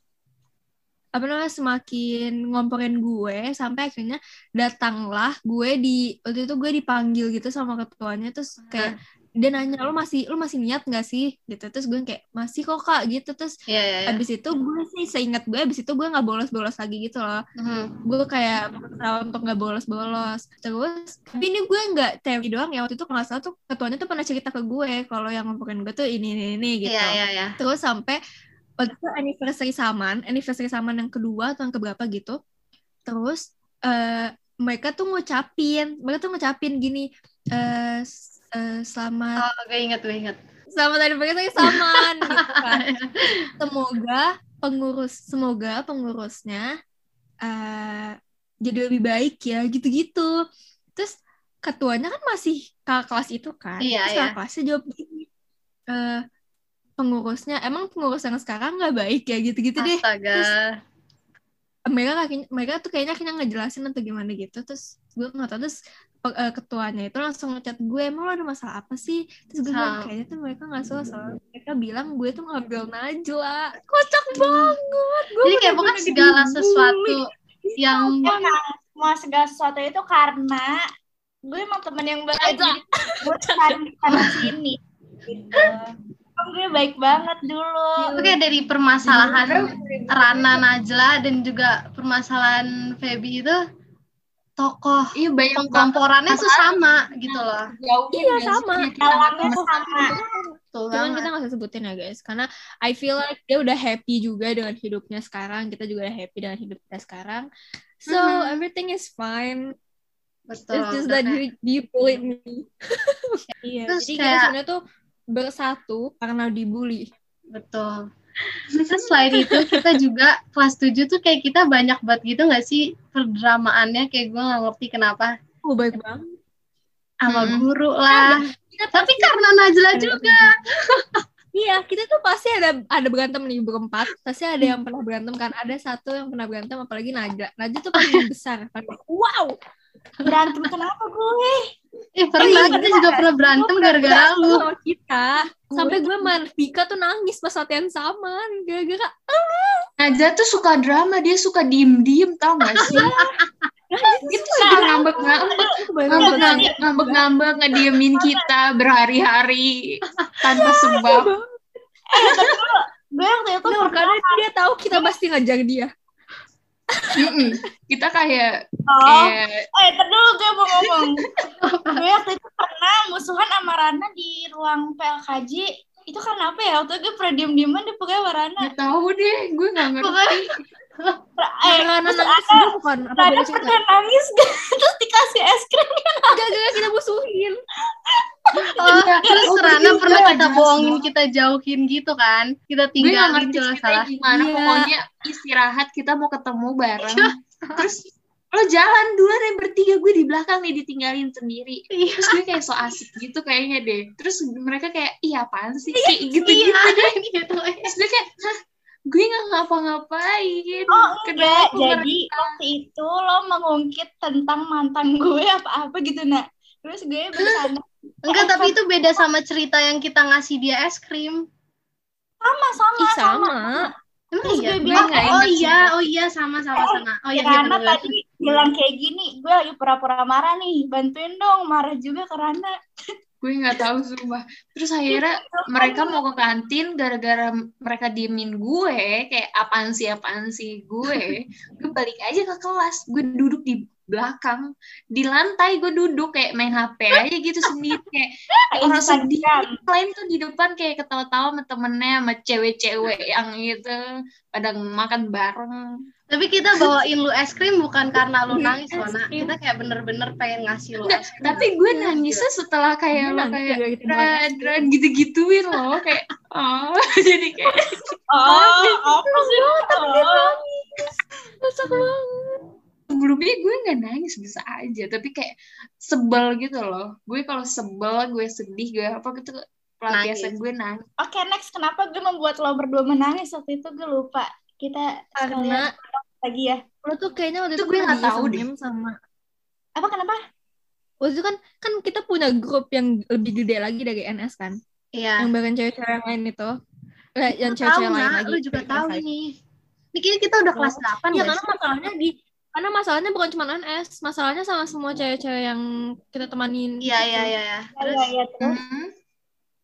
[SPEAKER 2] apa namanya semakin ngomporin gue sampai akhirnya datanglah gue di waktu itu gue dipanggil gitu sama ketuanya terus kayak dia nanya lu masih lu masih niat nggak sih gitu terus gue kayak masih kok kak gitu terus
[SPEAKER 1] Iya, iya, iya.
[SPEAKER 2] abis itu gue sih seingat gue abis itu gue nggak bolos-bolos lagi gitu loh
[SPEAKER 1] Mhm.
[SPEAKER 2] gue kayak berusaha untuk nggak bolos-bolos terus tapi ini gue nggak teori doang ya waktu itu kalau nggak salah tuh ketuanya tuh pernah cerita ke gue kalau yang ngomporin gue tuh ini ini ini gitu
[SPEAKER 1] Iya, iya, iya.
[SPEAKER 2] terus sampai waktu itu anniversary saman anniversary saman yang kedua atau yang keberapa gitu terus eh mereka tuh ngucapin mereka tuh ngucapin gini eh s- eh, selamat
[SPEAKER 1] Oh, gue inget, gue inget.
[SPEAKER 2] selamat anniversary saman gitu kan semoga pengurus semoga pengurusnya eh jadi lebih baik ya gitu-gitu terus ketuanya kan masih kakak kelas itu kan
[SPEAKER 1] Iya,
[SPEAKER 2] terus kakak kelasnya jawab gini eh pengurusnya emang pengurus yang sekarang nggak baik ya gitu-gitu deh
[SPEAKER 1] Astaga.
[SPEAKER 2] mereka kakinya- mereka tuh kayaknya akhirnya ngejelasin atau gimana gitu terus gue nggak tahu terus pe- eh, ketuanya itu langsung ngechat gue emang lo ada masalah apa sih terus gue bilang
[SPEAKER 1] Sama.
[SPEAKER 2] kayaknya tuh mereka nggak suka soalnya mereka bilang gue tuh ngambil Najla kocak banget gue
[SPEAKER 1] Hmm. Jadi kayak bukan
[SPEAKER 2] bener-bener
[SPEAKER 1] segala
[SPEAKER 2] dibully.
[SPEAKER 1] sesuatu yang
[SPEAKER 3] emang semua segala sesuatu itu karena gue emang temen yang baik
[SPEAKER 2] Aja.
[SPEAKER 3] jadi gue tarik di sana sini gitu. Emang gue baik banget dulu
[SPEAKER 1] Oke dari
[SPEAKER 2] Iya.
[SPEAKER 1] permasalahan Rana Najla dan juga permasalahan Feby itu tokoh
[SPEAKER 4] Iya banyak banget
[SPEAKER 1] pengkomporannya tuh sama gitu loh.
[SPEAKER 4] jauhnya
[SPEAKER 2] Iya,
[SPEAKER 4] nggak sih?
[SPEAKER 2] sama.
[SPEAKER 4] Kita
[SPEAKER 3] dalangnya
[SPEAKER 4] ketemu-
[SPEAKER 3] sama
[SPEAKER 1] Betul
[SPEAKER 2] cuman
[SPEAKER 1] banget.
[SPEAKER 2] kita nggak usah sebutin ya guys karena I feel like dia udah happy juga dengan hidupnya sekarang kita juga udah happy dengan hidup kita sekarang so
[SPEAKER 1] Hmm.
[SPEAKER 4] Mhm.
[SPEAKER 2] everything is fine
[SPEAKER 1] Betul.
[SPEAKER 2] It's just that you, you bullied me. iya,
[SPEAKER 1] Terus
[SPEAKER 2] jadi kita
[SPEAKER 1] kayak-
[SPEAKER 2] sebenarnya tuh bersatu karena dibully.
[SPEAKER 1] Betul. Terus selain itu kita juga kelas 7 tuh kayak kita banyak banget gitu nggak sih perdramaannya kayak gue nggak ngerti kenapa
[SPEAKER 2] Oh, baik banget.
[SPEAKER 1] sama
[SPEAKER 4] Hmm.
[SPEAKER 1] guru lah.
[SPEAKER 2] Kita
[SPEAKER 1] Tapi karena Najla juga.
[SPEAKER 2] Iya, kita tuh pasti ada ada berantem nih berempat. Pasti ada
[SPEAKER 1] Hmm.
[SPEAKER 2] yang pernah berantem kan. Ada satu yang pernah berantem apalagi Najla. Najla tuh paling besar. Paling- Wow.
[SPEAKER 3] berantem kenapa gue
[SPEAKER 1] Eh pernah
[SPEAKER 2] Iya,
[SPEAKER 1] kita juga pernah berantem gara-gara lu.
[SPEAKER 2] Sama kita. Sampai gue sama Vika tuh nangis pas latihan saman gara-gara
[SPEAKER 4] Najla tuh suka drama, dia suka diem-diem tau gak sih?
[SPEAKER 2] Iya,
[SPEAKER 4] Itu suka ngambek-ngambek, ngambek-ngambek, ngambek-ngambek, ngediemin kita berhari-hari tanpa sebab.
[SPEAKER 3] Ya, gue waktu itu
[SPEAKER 2] Nur,
[SPEAKER 3] pernah
[SPEAKER 2] karena dia tahu kita pasti ngajar
[SPEAKER 1] Eh,
[SPEAKER 2] dia.
[SPEAKER 4] Mm-mm. Kita kayak
[SPEAKER 3] dong
[SPEAKER 4] kayak
[SPEAKER 3] Eh, ntar dulu gue mau ngomong. gue waktu itu pernah musuhan sama Rana di ruang PLKJ. Itu karena apa ya? Waktu itu gue pernah diem-dieman dia pokoknya sama Rana.
[SPEAKER 4] nggak tahu deh, gue nggak ngerti.
[SPEAKER 3] Eh,
[SPEAKER 2] Makanan nangis
[SPEAKER 3] terus ada-
[SPEAKER 2] juga bukan? Apa
[SPEAKER 3] Rada
[SPEAKER 2] beda cerita?
[SPEAKER 3] pernah nangis gak? Terus dikasih es krim.
[SPEAKER 2] Enggak, enggak, kita musuhin.
[SPEAKER 1] Oh, terus
[SPEAKER 4] Oh,
[SPEAKER 1] Rana
[SPEAKER 4] iya,
[SPEAKER 1] pernah kita
[SPEAKER 4] jelas
[SPEAKER 1] bohongin,
[SPEAKER 4] banget.
[SPEAKER 1] kita jauhin gitu kan? Kita
[SPEAKER 4] Gue gak
[SPEAKER 1] tinggalin
[SPEAKER 4] ngerti
[SPEAKER 1] kalau
[SPEAKER 4] ceritanya
[SPEAKER 1] salah.
[SPEAKER 4] gimana.
[SPEAKER 2] Iya.
[SPEAKER 4] Pokoknya istirahat kita mau ketemu bareng.
[SPEAKER 1] Iya.
[SPEAKER 4] Terus lo jalan duluan yang bertiga gue di belakang nih ditinggalin sendiri.
[SPEAKER 1] Iya.
[SPEAKER 4] Terus gue kayak so asik gitu kayaknya deh. Terus mereka kayak, iya apaan sih? Kayak gitu-gitu
[SPEAKER 1] Iya,
[SPEAKER 4] deh.
[SPEAKER 1] gitu.
[SPEAKER 4] Terus gue kayak, hah? Gue gak ngapa-ngapain.
[SPEAKER 3] Oh enggak,
[SPEAKER 4] Kenapa
[SPEAKER 3] jadi waktu itu lo mengungkit tentang mantan gue apa-apa gitu, nak. Terus gue bercanda
[SPEAKER 1] Enggak, tapi itu beda sama cerita yang kita ngasih dia es krim.
[SPEAKER 3] sama-sama.
[SPEAKER 2] Ih, sama.
[SPEAKER 1] Emang
[SPEAKER 3] Terus
[SPEAKER 1] iya?
[SPEAKER 3] gue bilang, Ya,
[SPEAKER 4] nggak
[SPEAKER 1] oh
[SPEAKER 4] ingat sih.
[SPEAKER 1] iya, oh iya, sama, sama, sama. Oh iya, iya,
[SPEAKER 3] Karena
[SPEAKER 1] bener-bener.
[SPEAKER 3] tadi bilang kayak gini, gue lagi pura-pura marah nih, bantuin dong, marah juga karena
[SPEAKER 4] gue nggak tahu sumpah terus akhirnya mereka mau ke kantin gara-gara mereka diemin gue kayak apaan sih apaan sih gue gue balik aja ke kelas gue duduk di belakang di lantai gue duduk kayak main hp aja gitu sendiri kayak orang sedih
[SPEAKER 3] Instagram.
[SPEAKER 4] lain tuh di depan kayak ketawa-tawa sama temennya sama cewek-cewek yang gitu pada makan bareng
[SPEAKER 1] Tapi kita bawain lu es krim bukan karena lu
[SPEAKER 2] Iya,
[SPEAKER 1] nangis,
[SPEAKER 2] es
[SPEAKER 1] Lona.
[SPEAKER 2] krim.
[SPEAKER 1] Kita kayak bener-bener pengen ngasih lu
[SPEAKER 4] Nggak,
[SPEAKER 1] es krim.
[SPEAKER 4] tapi gue iya, nangisnya setelah kayak
[SPEAKER 2] Gue
[SPEAKER 4] lo
[SPEAKER 2] nangis
[SPEAKER 4] kayak
[SPEAKER 2] gara-gara kita makan
[SPEAKER 4] dran dran gitu-gituin loh kayak oh jadi kayak
[SPEAKER 3] Oh, apa sih? Oh.
[SPEAKER 2] Rusak banget.
[SPEAKER 4] sebelumnya gue nggak nangis bisa aja tapi kayak sebel gitu loh gue kalau sebel gue sedih gue apa gitu
[SPEAKER 1] Nangis.
[SPEAKER 4] pelampiasan gue nangis
[SPEAKER 3] Oke, next kenapa gue membuat lo berdua menangis waktu itu gue lupa. Kita
[SPEAKER 2] Karena
[SPEAKER 3] sekalian lagi ya.
[SPEAKER 2] lo tuh kayaknya waktu
[SPEAKER 4] Itu
[SPEAKER 2] itu,
[SPEAKER 4] gue
[SPEAKER 2] pernah
[SPEAKER 4] nggak tahu
[SPEAKER 2] sama
[SPEAKER 4] deh.
[SPEAKER 2] Mem sama
[SPEAKER 3] Apa kenapa?
[SPEAKER 2] waktu itu kan kan kita punya grup yang lebih gede lagi dari NS kan
[SPEAKER 1] Iya.
[SPEAKER 2] yang bareng cewek-cewek yang lain itu Eh,
[SPEAKER 1] Lu
[SPEAKER 2] yang
[SPEAKER 1] tahu,
[SPEAKER 2] cewek-cewek lain
[SPEAKER 1] Nak.
[SPEAKER 2] lagi
[SPEAKER 1] Lu juga
[SPEAKER 2] dari
[SPEAKER 1] tahu
[SPEAKER 2] kelas lain.
[SPEAKER 1] nih. Ini kayaknya kita udah kelas 8
[SPEAKER 2] Iya
[SPEAKER 1] guys.
[SPEAKER 2] karena masalahnya di karena masalahnya bukan cuma NS masalahnya sama semua cewek-cewek yang kita temanin gitu.
[SPEAKER 1] Iya, iya, iya. iya. Terus,
[SPEAKER 3] Iya, iya, terus.
[SPEAKER 4] Hmm.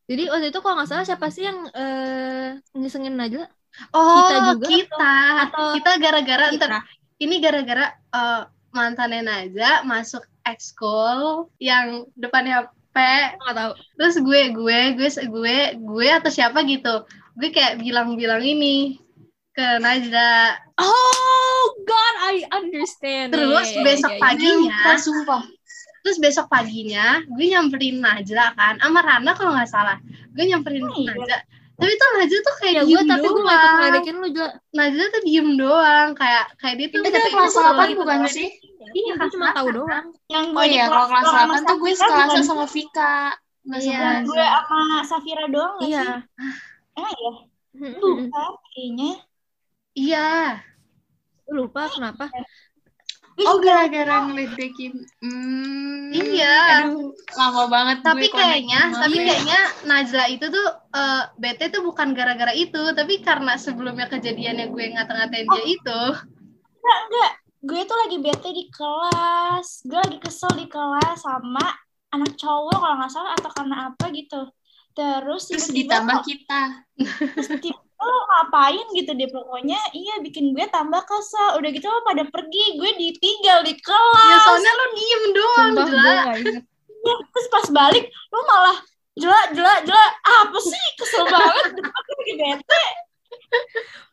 [SPEAKER 2] jadi waktu itu kalau nggak salah siapa sih yang eh ngisengin Najla
[SPEAKER 1] oh, kita
[SPEAKER 2] Kita juga
[SPEAKER 1] Kita,
[SPEAKER 2] atau
[SPEAKER 1] gara-gara, ntar,
[SPEAKER 2] kita
[SPEAKER 1] ini gara-gara eh, mantannya Naja masuk ekskul yang depannya P.
[SPEAKER 2] nggak tahu
[SPEAKER 1] Terus gue, gue, gue, gue, gue atau siapa gitu. Gue kayak bilang-bilang ini ke Najda.
[SPEAKER 2] oh god I understand
[SPEAKER 1] Terus
[SPEAKER 2] Iya, iya,
[SPEAKER 1] besok
[SPEAKER 2] iya, iya.
[SPEAKER 1] paginya,
[SPEAKER 4] Sumpah, sumpah
[SPEAKER 1] terus besok paginya gue nyamperin Najla kan sama Rana kalau nggak salah gue nyamperin
[SPEAKER 3] Oh, iya.
[SPEAKER 1] Najla tapi tuh Najla tuh kayak
[SPEAKER 2] ya
[SPEAKER 1] diem
[SPEAKER 2] gue tapi gue nggak ikut
[SPEAKER 1] doang
[SPEAKER 2] ngeledekin lu juga
[SPEAKER 1] Najla tuh diem doang kayak kayak dia tuh
[SPEAKER 4] itu
[SPEAKER 1] kayak-
[SPEAKER 4] kelas
[SPEAKER 2] itu
[SPEAKER 4] 8
[SPEAKER 1] gitu
[SPEAKER 2] soalnya
[SPEAKER 4] bukan
[SPEAKER 2] itu
[SPEAKER 4] sih
[SPEAKER 1] Iya,
[SPEAKER 2] gue cuma
[SPEAKER 1] kelas
[SPEAKER 2] tahu
[SPEAKER 1] delapan.
[SPEAKER 2] doang
[SPEAKER 3] Yang gue
[SPEAKER 4] oh
[SPEAKER 3] di
[SPEAKER 4] iya kalau kelas
[SPEAKER 3] sama
[SPEAKER 4] 8 tuh gue
[SPEAKER 3] Safira
[SPEAKER 4] sekelasan
[SPEAKER 3] bukan? kan?
[SPEAKER 4] sama Vika nggak
[SPEAKER 1] Iya.
[SPEAKER 4] sekelasan.
[SPEAKER 3] gue sama Safira doang nggak
[SPEAKER 2] iya
[SPEAKER 3] sih? Emang iya?
[SPEAKER 2] Mm-mm.
[SPEAKER 3] Lupa kayaknya.
[SPEAKER 1] iya
[SPEAKER 2] lupa kenapa
[SPEAKER 4] oh gara-gara ngeledekin hmm,
[SPEAKER 1] Iya.
[SPEAKER 4] aduh lama banget
[SPEAKER 1] tapi
[SPEAKER 4] gue connect
[SPEAKER 1] kayaknya
[SPEAKER 4] sama
[SPEAKER 1] tapi
[SPEAKER 4] gue.
[SPEAKER 1] kayaknya Najla itu tuh eh, bete tuh bukan gara-gara itu tapi karena sebelumnya kejadiannya gue ngata-ngatain dia itu
[SPEAKER 3] Gue tuh lagi bete di kelas. Gue lagi kesel di kelas sama anak cowok kalau nggak salah atau karena apa gitu. Terus
[SPEAKER 4] terus
[SPEAKER 3] tiba-tiba
[SPEAKER 4] ditambah kita
[SPEAKER 3] tiba lo ngapain gitu deh pokoknya iya bikin gue tambah kesel udah gitu lo pada pergi gue ditinggal di kelas
[SPEAKER 1] ya soalnya lo diem doang
[SPEAKER 2] Sumpah, gue
[SPEAKER 1] Najla
[SPEAKER 2] nggak inget.
[SPEAKER 3] terus pas balik lo malah jelek jelek jelek apa sih kesel banget depan gue lagi bete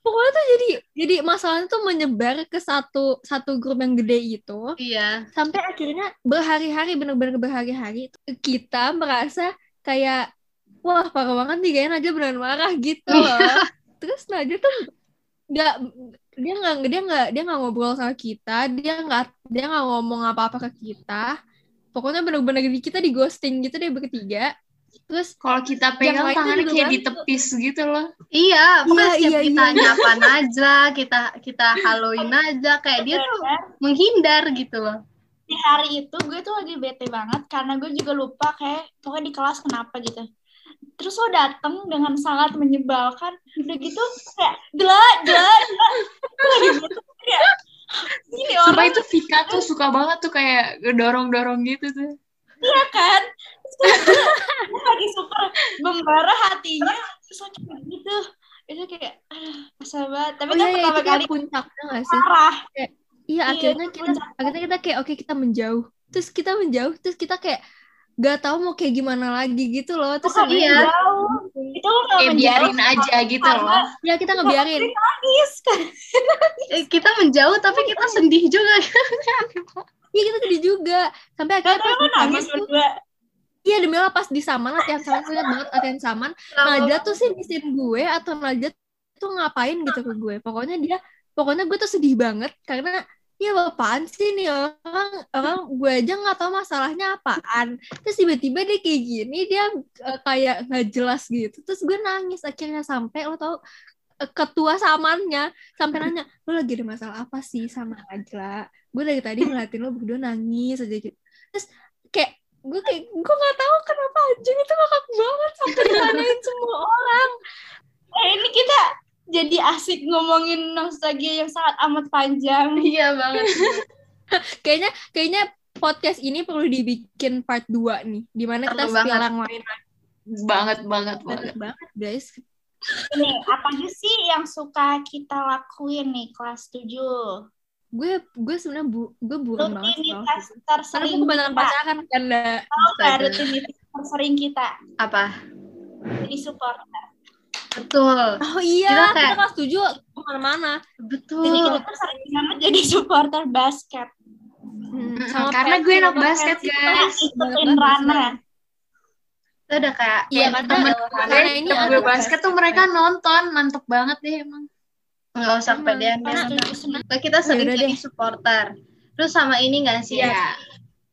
[SPEAKER 2] pokoknya tuh jadi jadi masalahnya tuh menyebar ke satu satu grup yang gede gitu. itu
[SPEAKER 1] iya
[SPEAKER 2] sampai akhirnya berhari-hari bener-bener berhari-hari kita merasa kayak wah parah banget nih kayaknya Najwa beneran marah gitu loh terus Najwa tuh nggak dia nggak dia nggak dia nggak ngobrol sama kita dia nggak dia nggak ngomong apa-apa ke kita pokoknya bener-bener di- kita di ghosting gitu deh bertiga terus
[SPEAKER 4] kalau kita pegang
[SPEAKER 2] lain tuh
[SPEAKER 4] tangannya
[SPEAKER 2] juga
[SPEAKER 4] kayak
[SPEAKER 2] bantu.
[SPEAKER 4] ditepis gitu loh
[SPEAKER 1] iya pokoknya
[SPEAKER 2] Iya,
[SPEAKER 1] setiap
[SPEAKER 2] iya,
[SPEAKER 1] kita
[SPEAKER 2] iya.
[SPEAKER 1] nyapa Najla kita kita haloin Najla kayak dia tuh menghindar gitu loh
[SPEAKER 3] di hari itu gue tuh lagi bete banget karena gue juga lupa kayak pokoknya di kelas kenapa gitu terus lo dateng dengan sangat menyebalkan udah gitu kayak jelek jelek jelek gue lagi bete kayak ini
[SPEAKER 4] Sumpah
[SPEAKER 3] orang
[SPEAKER 4] itu Vika tuh suka banget tuh kayak dorong-dorong gitu tuh.
[SPEAKER 3] Iya kan? Terus kayak gue- gue lagi super membara hatinya, terus lo kayak gitu. Itu kayak, aduh, kesel banget. Tapi
[SPEAKER 2] oh
[SPEAKER 3] kan
[SPEAKER 2] iya, iya,
[SPEAKER 3] pertama
[SPEAKER 2] itu kayak
[SPEAKER 3] kali
[SPEAKER 2] puncaknya nggak sih
[SPEAKER 3] marah.
[SPEAKER 2] Iya,
[SPEAKER 3] Iya,
[SPEAKER 2] akhirnya
[SPEAKER 3] itu
[SPEAKER 2] kita
[SPEAKER 3] puncak.
[SPEAKER 2] akhirnya kita kayak oke kita menjauh. Terus kita
[SPEAKER 3] Oh,
[SPEAKER 2] menjauh, terus kita kayak gak tahu mau kayak gimana lagi gitu loh. Terus
[SPEAKER 3] Bukan
[SPEAKER 1] iya.
[SPEAKER 3] jauh. itu lo nggak
[SPEAKER 4] eh
[SPEAKER 3] menjauh
[SPEAKER 4] biarin aja gitu loh.
[SPEAKER 2] Ya kita ngebiarin.
[SPEAKER 3] nangis kan
[SPEAKER 1] Eh, kita menjauh tapi kita sedih juga
[SPEAKER 2] Iya kita sedih juga. Sampai
[SPEAKER 3] Gak
[SPEAKER 2] akhirnya pas
[SPEAKER 3] tau lo
[SPEAKER 2] di Saman
[SPEAKER 3] nangis
[SPEAKER 2] tuh-
[SPEAKER 3] berdua
[SPEAKER 2] iya demi Allah pas di Saman latihan Saman aku ingat banget latihan Saman. Najat tuh sih bisin gue atau Najat tuh ngapain gitu ke gue. Pokoknya dia, pokoknya gue tuh sedih banget karena ya apaan sih nih orang orang gue aja nggak tahu masalahnya apaan terus tiba-tiba dia kayak gini dia eh, kayak nggak jelas gitu terus gue nangis akhirnya sampai lo tau eh, ketua samannya sampai nanya lo lagi ada masalah apa sih sama aja gue dari tadi ngeliatin lo berdua nangis aja gitu terus kayak gue kayak gue nggak tahu kenapa anjing itu ngakak banget sampai ditanyain semua orang
[SPEAKER 3] eh ini kita jadi asik ngomongin nostalgia yang sangat amat panjang
[SPEAKER 1] iya banget
[SPEAKER 2] kayaknya kayaknya podcast ini perlu dibikin part 2 nih dimana
[SPEAKER 1] Perlu
[SPEAKER 2] kita
[SPEAKER 1] banget.
[SPEAKER 2] sekarang main
[SPEAKER 4] Banget banget banget.
[SPEAKER 2] banget banget guys
[SPEAKER 3] nih apa aja sih yang suka kita lakuin nih kelas 7
[SPEAKER 2] gue gue sebenarnya bu gue buron banget sih kalau
[SPEAKER 3] rutinitas
[SPEAKER 2] gitu. karena
[SPEAKER 3] tersering
[SPEAKER 2] gue kebanyakan
[SPEAKER 3] kita
[SPEAKER 2] pacaran kan Nda.
[SPEAKER 3] Tau nggak rutinitas tersering kita
[SPEAKER 1] apa
[SPEAKER 3] jadi support
[SPEAKER 1] betul
[SPEAKER 2] oh iya
[SPEAKER 1] Kita kayak-
[SPEAKER 2] kita kelas tujuh kemana-mana
[SPEAKER 3] jadi
[SPEAKER 1] betul
[SPEAKER 3] kita tuh sering banget jadi supporter basket
[SPEAKER 2] Hmm,
[SPEAKER 4] Mm-mm,
[SPEAKER 2] sama
[SPEAKER 4] karena gue anak
[SPEAKER 3] Sama
[SPEAKER 4] basket
[SPEAKER 3] fans
[SPEAKER 4] guys.
[SPEAKER 3] kita
[SPEAKER 4] Iya,
[SPEAKER 3] ikutin
[SPEAKER 2] Banget,
[SPEAKER 3] Rana
[SPEAKER 1] itu udah kayak
[SPEAKER 2] Iya,
[SPEAKER 1] kayak
[SPEAKER 2] karena-
[SPEAKER 1] temen
[SPEAKER 2] karena ini
[SPEAKER 1] Iya,
[SPEAKER 4] Tiap
[SPEAKER 2] anak
[SPEAKER 4] gue basket tuh mereka nonton, mantep banget deh emang.
[SPEAKER 1] nggak usah
[SPEAKER 2] Emang,
[SPEAKER 1] kepedean deh
[SPEAKER 3] Rana setuju sendiri.
[SPEAKER 1] Nah, kita sering
[SPEAKER 2] udah
[SPEAKER 1] jadi supporter terus sama ini nggak sih
[SPEAKER 4] Iya.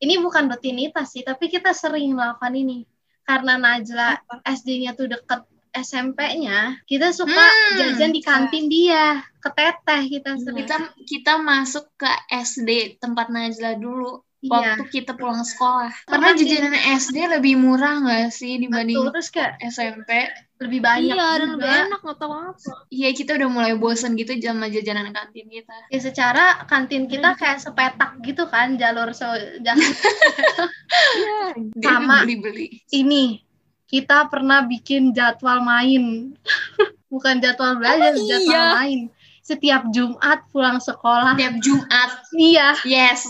[SPEAKER 1] ini bukan rutinitas sih tapi kita sering melakukan ini karena Najla SD-nya tuh deket SMP-nya kita suka
[SPEAKER 4] Hmm.
[SPEAKER 1] jajan di kantin dia keteteh kita
[SPEAKER 2] Iya.
[SPEAKER 1] sering
[SPEAKER 4] Kita kita masuk ke SD tempat Najla dulu
[SPEAKER 1] iya
[SPEAKER 4] waktu kita pulang sekolah.
[SPEAKER 1] Karena
[SPEAKER 4] Karena
[SPEAKER 1] di-
[SPEAKER 4] jajanan SD lebih murah nggak sih dibanding
[SPEAKER 1] betul terus kayak
[SPEAKER 4] SMP?
[SPEAKER 1] lebih banyak
[SPEAKER 2] iya dan lebih
[SPEAKER 1] juga.
[SPEAKER 2] enak nggak tahu apa
[SPEAKER 4] Iya kita udah mulai bosen gitu sama jajanan kantin kita.
[SPEAKER 1] ya secara kantin kita
[SPEAKER 2] Hmm.
[SPEAKER 1] kayak sepetak gitu kan jalur so jalur
[SPEAKER 2] iya
[SPEAKER 1] Sama.
[SPEAKER 4] beli beli.
[SPEAKER 1] ini kita pernah bikin jadwal main bukan jadwal belajar
[SPEAKER 2] Oh,
[SPEAKER 1] jadwal
[SPEAKER 2] iya.
[SPEAKER 1] main setiap Jumat pulang sekolah
[SPEAKER 4] Tiap Jumat.
[SPEAKER 1] iya
[SPEAKER 4] Yes.